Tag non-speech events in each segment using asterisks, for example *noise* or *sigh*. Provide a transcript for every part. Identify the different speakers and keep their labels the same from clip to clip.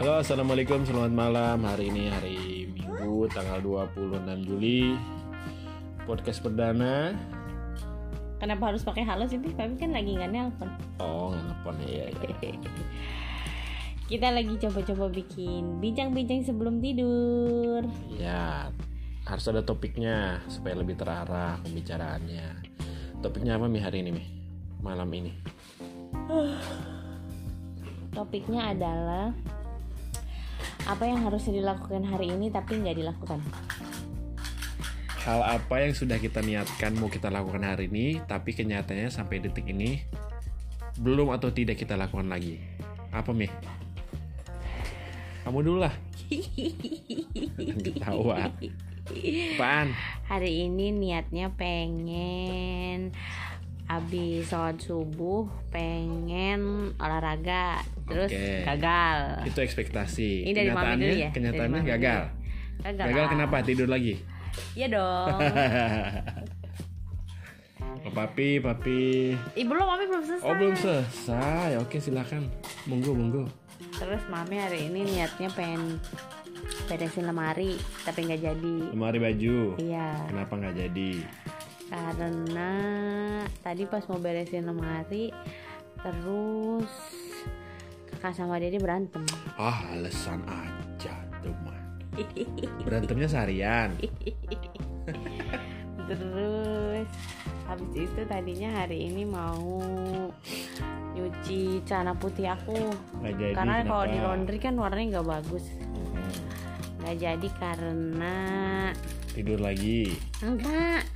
Speaker 1: Halo, Assalamualaikum, selamat malam Hari ini hari Minggu, tanggal 26 Juli Podcast perdana
Speaker 2: Kenapa harus pakai halo sih, Pi? Papi kan lagi nggak nelpon.
Speaker 1: Oh, nelfon ya, ya, ya.
Speaker 2: Kita lagi coba-coba bikin bincang-bincang sebelum tidur.
Speaker 1: Ya, harus ada topiknya Supaya lebih terarah pembicaraannya Topiknya apa Mi hari ini Mi? Malam ini
Speaker 2: Topiknya adalah apa yang harus dilakukan hari ini tapi nggak dilakukan.
Speaker 1: Hal apa yang sudah kita niatkan mau kita lakukan hari ini Tapi kenyataannya sampai detik ini Belum atau tidak kita lakukan lagi Apa Mi? Kamu dulu
Speaker 2: *laughs*
Speaker 1: lah Ketawa Apaan?
Speaker 2: Hari ini niatnya pengen habis sholat subuh pengen olahraga terus
Speaker 1: Oke.
Speaker 2: gagal.
Speaker 1: Itu ekspektasi
Speaker 2: Ini dari mami
Speaker 1: Kenyataannya,
Speaker 2: dulu ya.
Speaker 1: kenyataannya
Speaker 2: Dari mami
Speaker 1: gagal
Speaker 2: dulu. ya? Gagal.
Speaker 1: Gagal kenapa? Tidur lagi? *laughs*
Speaker 2: Iya dong.
Speaker 1: Oh, papi, papi.
Speaker 2: Ih, belum mami belum selesai.
Speaker 1: Oh belum selesai. Oke silakan. Monggo, monggo.
Speaker 2: Terus mami hari ini niatnya pengen beresin lemari tapi nggak jadi.
Speaker 1: Lemari baju.
Speaker 2: Iya,
Speaker 1: Kenapa nggak jadi?
Speaker 2: karena tadi pas mau beresin lemari terus kakak sama dede berantem.
Speaker 1: Ah alasan aja teman. Berantemnya seharian.
Speaker 2: Terus habis itu tadinya hari ini mau nyuci celana putih aku
Speaker 1: Nggak jadi.
Speaker 2: karena kalau di
Speaker 1: kenapa?
Speaker 2: laundry kan warnanya nggak bagus
Speaker 1: Hmm,
Speaker 2: nggak jadi karena
Speaker 1: Tidur lagi.
Speaker 2: enggak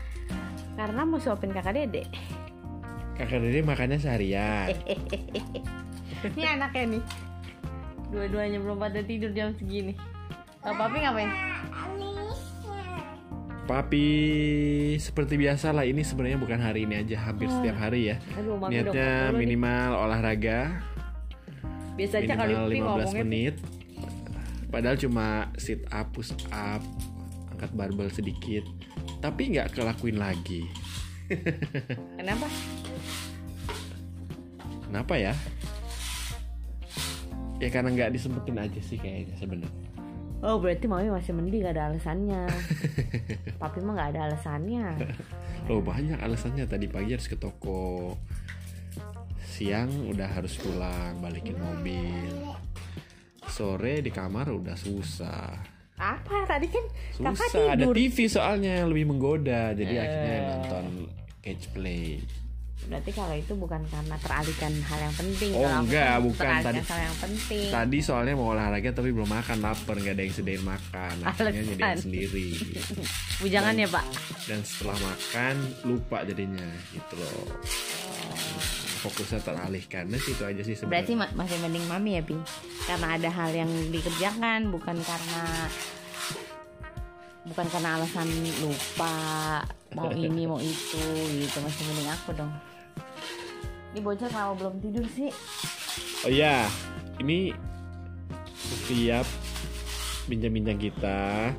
Speaker 2: karena mau suapin kakak dede
Speaker 1: Kakak Dede makannya seharian.
Speaker 2: Ini anaknya nih Dua-duanya belum pada tidur jam segini Kalau papi ngapain?
Speaker 1: Papi, seperti biasa lah ini sebenarnya bukan hari ini aja, hampir setiap hari ya.
Speaker 2: Ah. Aduh, mami udah
Speaker 1: Niatnya
Speaker 2: mulu nih.
Speaker 1: minimal olahraga,
Speaker 2: Biasa aja kali
Speaker 1: minimal 15
Speaker 2: Pi ngomongnya
Speaker 1: menit padahal cuma sit up push up angkat barbel sedikit tapi nggak kelakuin lagi
Speaker 2: Kenapa?
Speaker 1: kenapa ya ya karena nggak disempetin aja sih kayaknya sebenarnya
Speaker 2: Oh berarti mami masih mending gak ada
Speaker 1: *laughs*
Speaker 2: alasannya Papi mah gak ada alasannya
Speaker 1: oh banyak alasannya tadi pagi harus ke toko siang udah harus pulang balikin mobil sore di kamar udah susah
Speaker 2: Apa? Tadi kan kakak
Speaker 1: susah ada
Speaker 2: tidur
Speaker 1: TV soalnya yang lebih menggoda jadi
Speaker 2: Eh.
Speaker 1: akhirnya nonton catch play
Speaker 2: Berarti kalau itu bukan karena teralihkan hal yang penting
Speaker 1: Oh,
Speaker 2: Kalau aku
Speaker 1: enggak,
Speaker 2: kan
Speaker 1: bukan.
Speaker 2: Teralihkan
Speaker 1: Tadi-
Speaker 2: hal yang penting
Speaker 1: Tadi soalnya mau olahraga tapi belum makan lapar nggak ada yang sedain makan akhirnya
Speaker 2: Alasan.
Speaker 1: nyediain sendiri
Speaker 2: Bujangan ya pak
Speaker 1: dan setelah makan lupa jadinya gitu loh fokusnya teralihkan dan itu aja sih
Speaker 2: Berarti
Speaker 1: sebenarnya
Speaker 2: ma- masih mending mami ya Pi Karena ada hal yang dikerjakan Bukan karena Bukan karena alasan lupa Mau ini mau itu gitu Masih mending aku dong Ini bocah kenapa belum tidur sih
Speaker 1: oh ya ini setiap bincang-bincang kita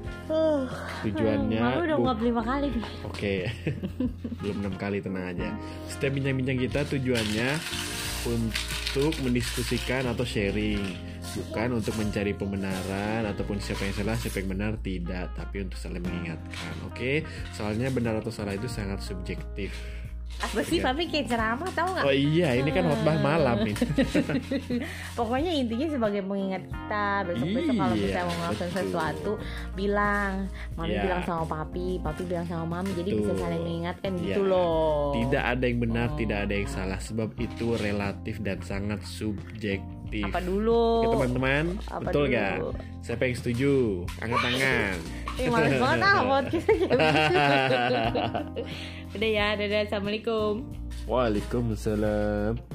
Speaker 1: tujuannya
Speaker 2: Mami udah
Speaker 1: bu-
Speaker 2: nggak lima kali Pi
Speaker 1: Oke, *laughs* belum enam kali tenang aja. Setiap bincang-bincang kita tujuannya untuk mendiskusikan atau sharing, bukan untuk mencari pembenaran ataupun siapa yang salah, siapa yang benar tidak, tapi untuk saling mengingatkan. Oke, soalnya benar atau salah itu sangat subjektif.
Speaker 2: Apa sih Papi kayak ceramah tau gak
Speaker 1: Iya. Oh iya, ini kan khotbah malam nih.
Speaker 2: Pokoknya intinya sebagai pengingat kita besok-besok kalau
Speaker 1: Iya,
Speaker 2: misalnya mau ngelakuin
Speaker 1: betul.
Speaker 2: sesuatu bilang, mami
Speaker 1: Iya.
Speaker 2: bilang sama papi, papi bilang sama mami, jadi bisa
Speaker 1: Betul.
Speaker 2: saling mengingatkan
Speaker 1: Iya.
Speaker 2: gitu loh.
Speaker 1: Tidak ada yang benar, tidak ada yang salah, sebab itu relatif dan sangat subjektif.
Speaker 2: Apa dulu?
Speaker 1: Oke Iya. teman-teman,
Speaker 2: Apa
Speaker 1: betul
Speaker 2: dulu?
Speaker 1: gak? Siapa yang setuju? Angkat
Speaker 2: *laughs*
Speaker 1: tangan. *laughs*
Speaker 2: Ih, males banget ah podcastnya kayak begitu. Udah ya, dadah, assalamualaikum.
Speaker 1: Waalaikumsalam.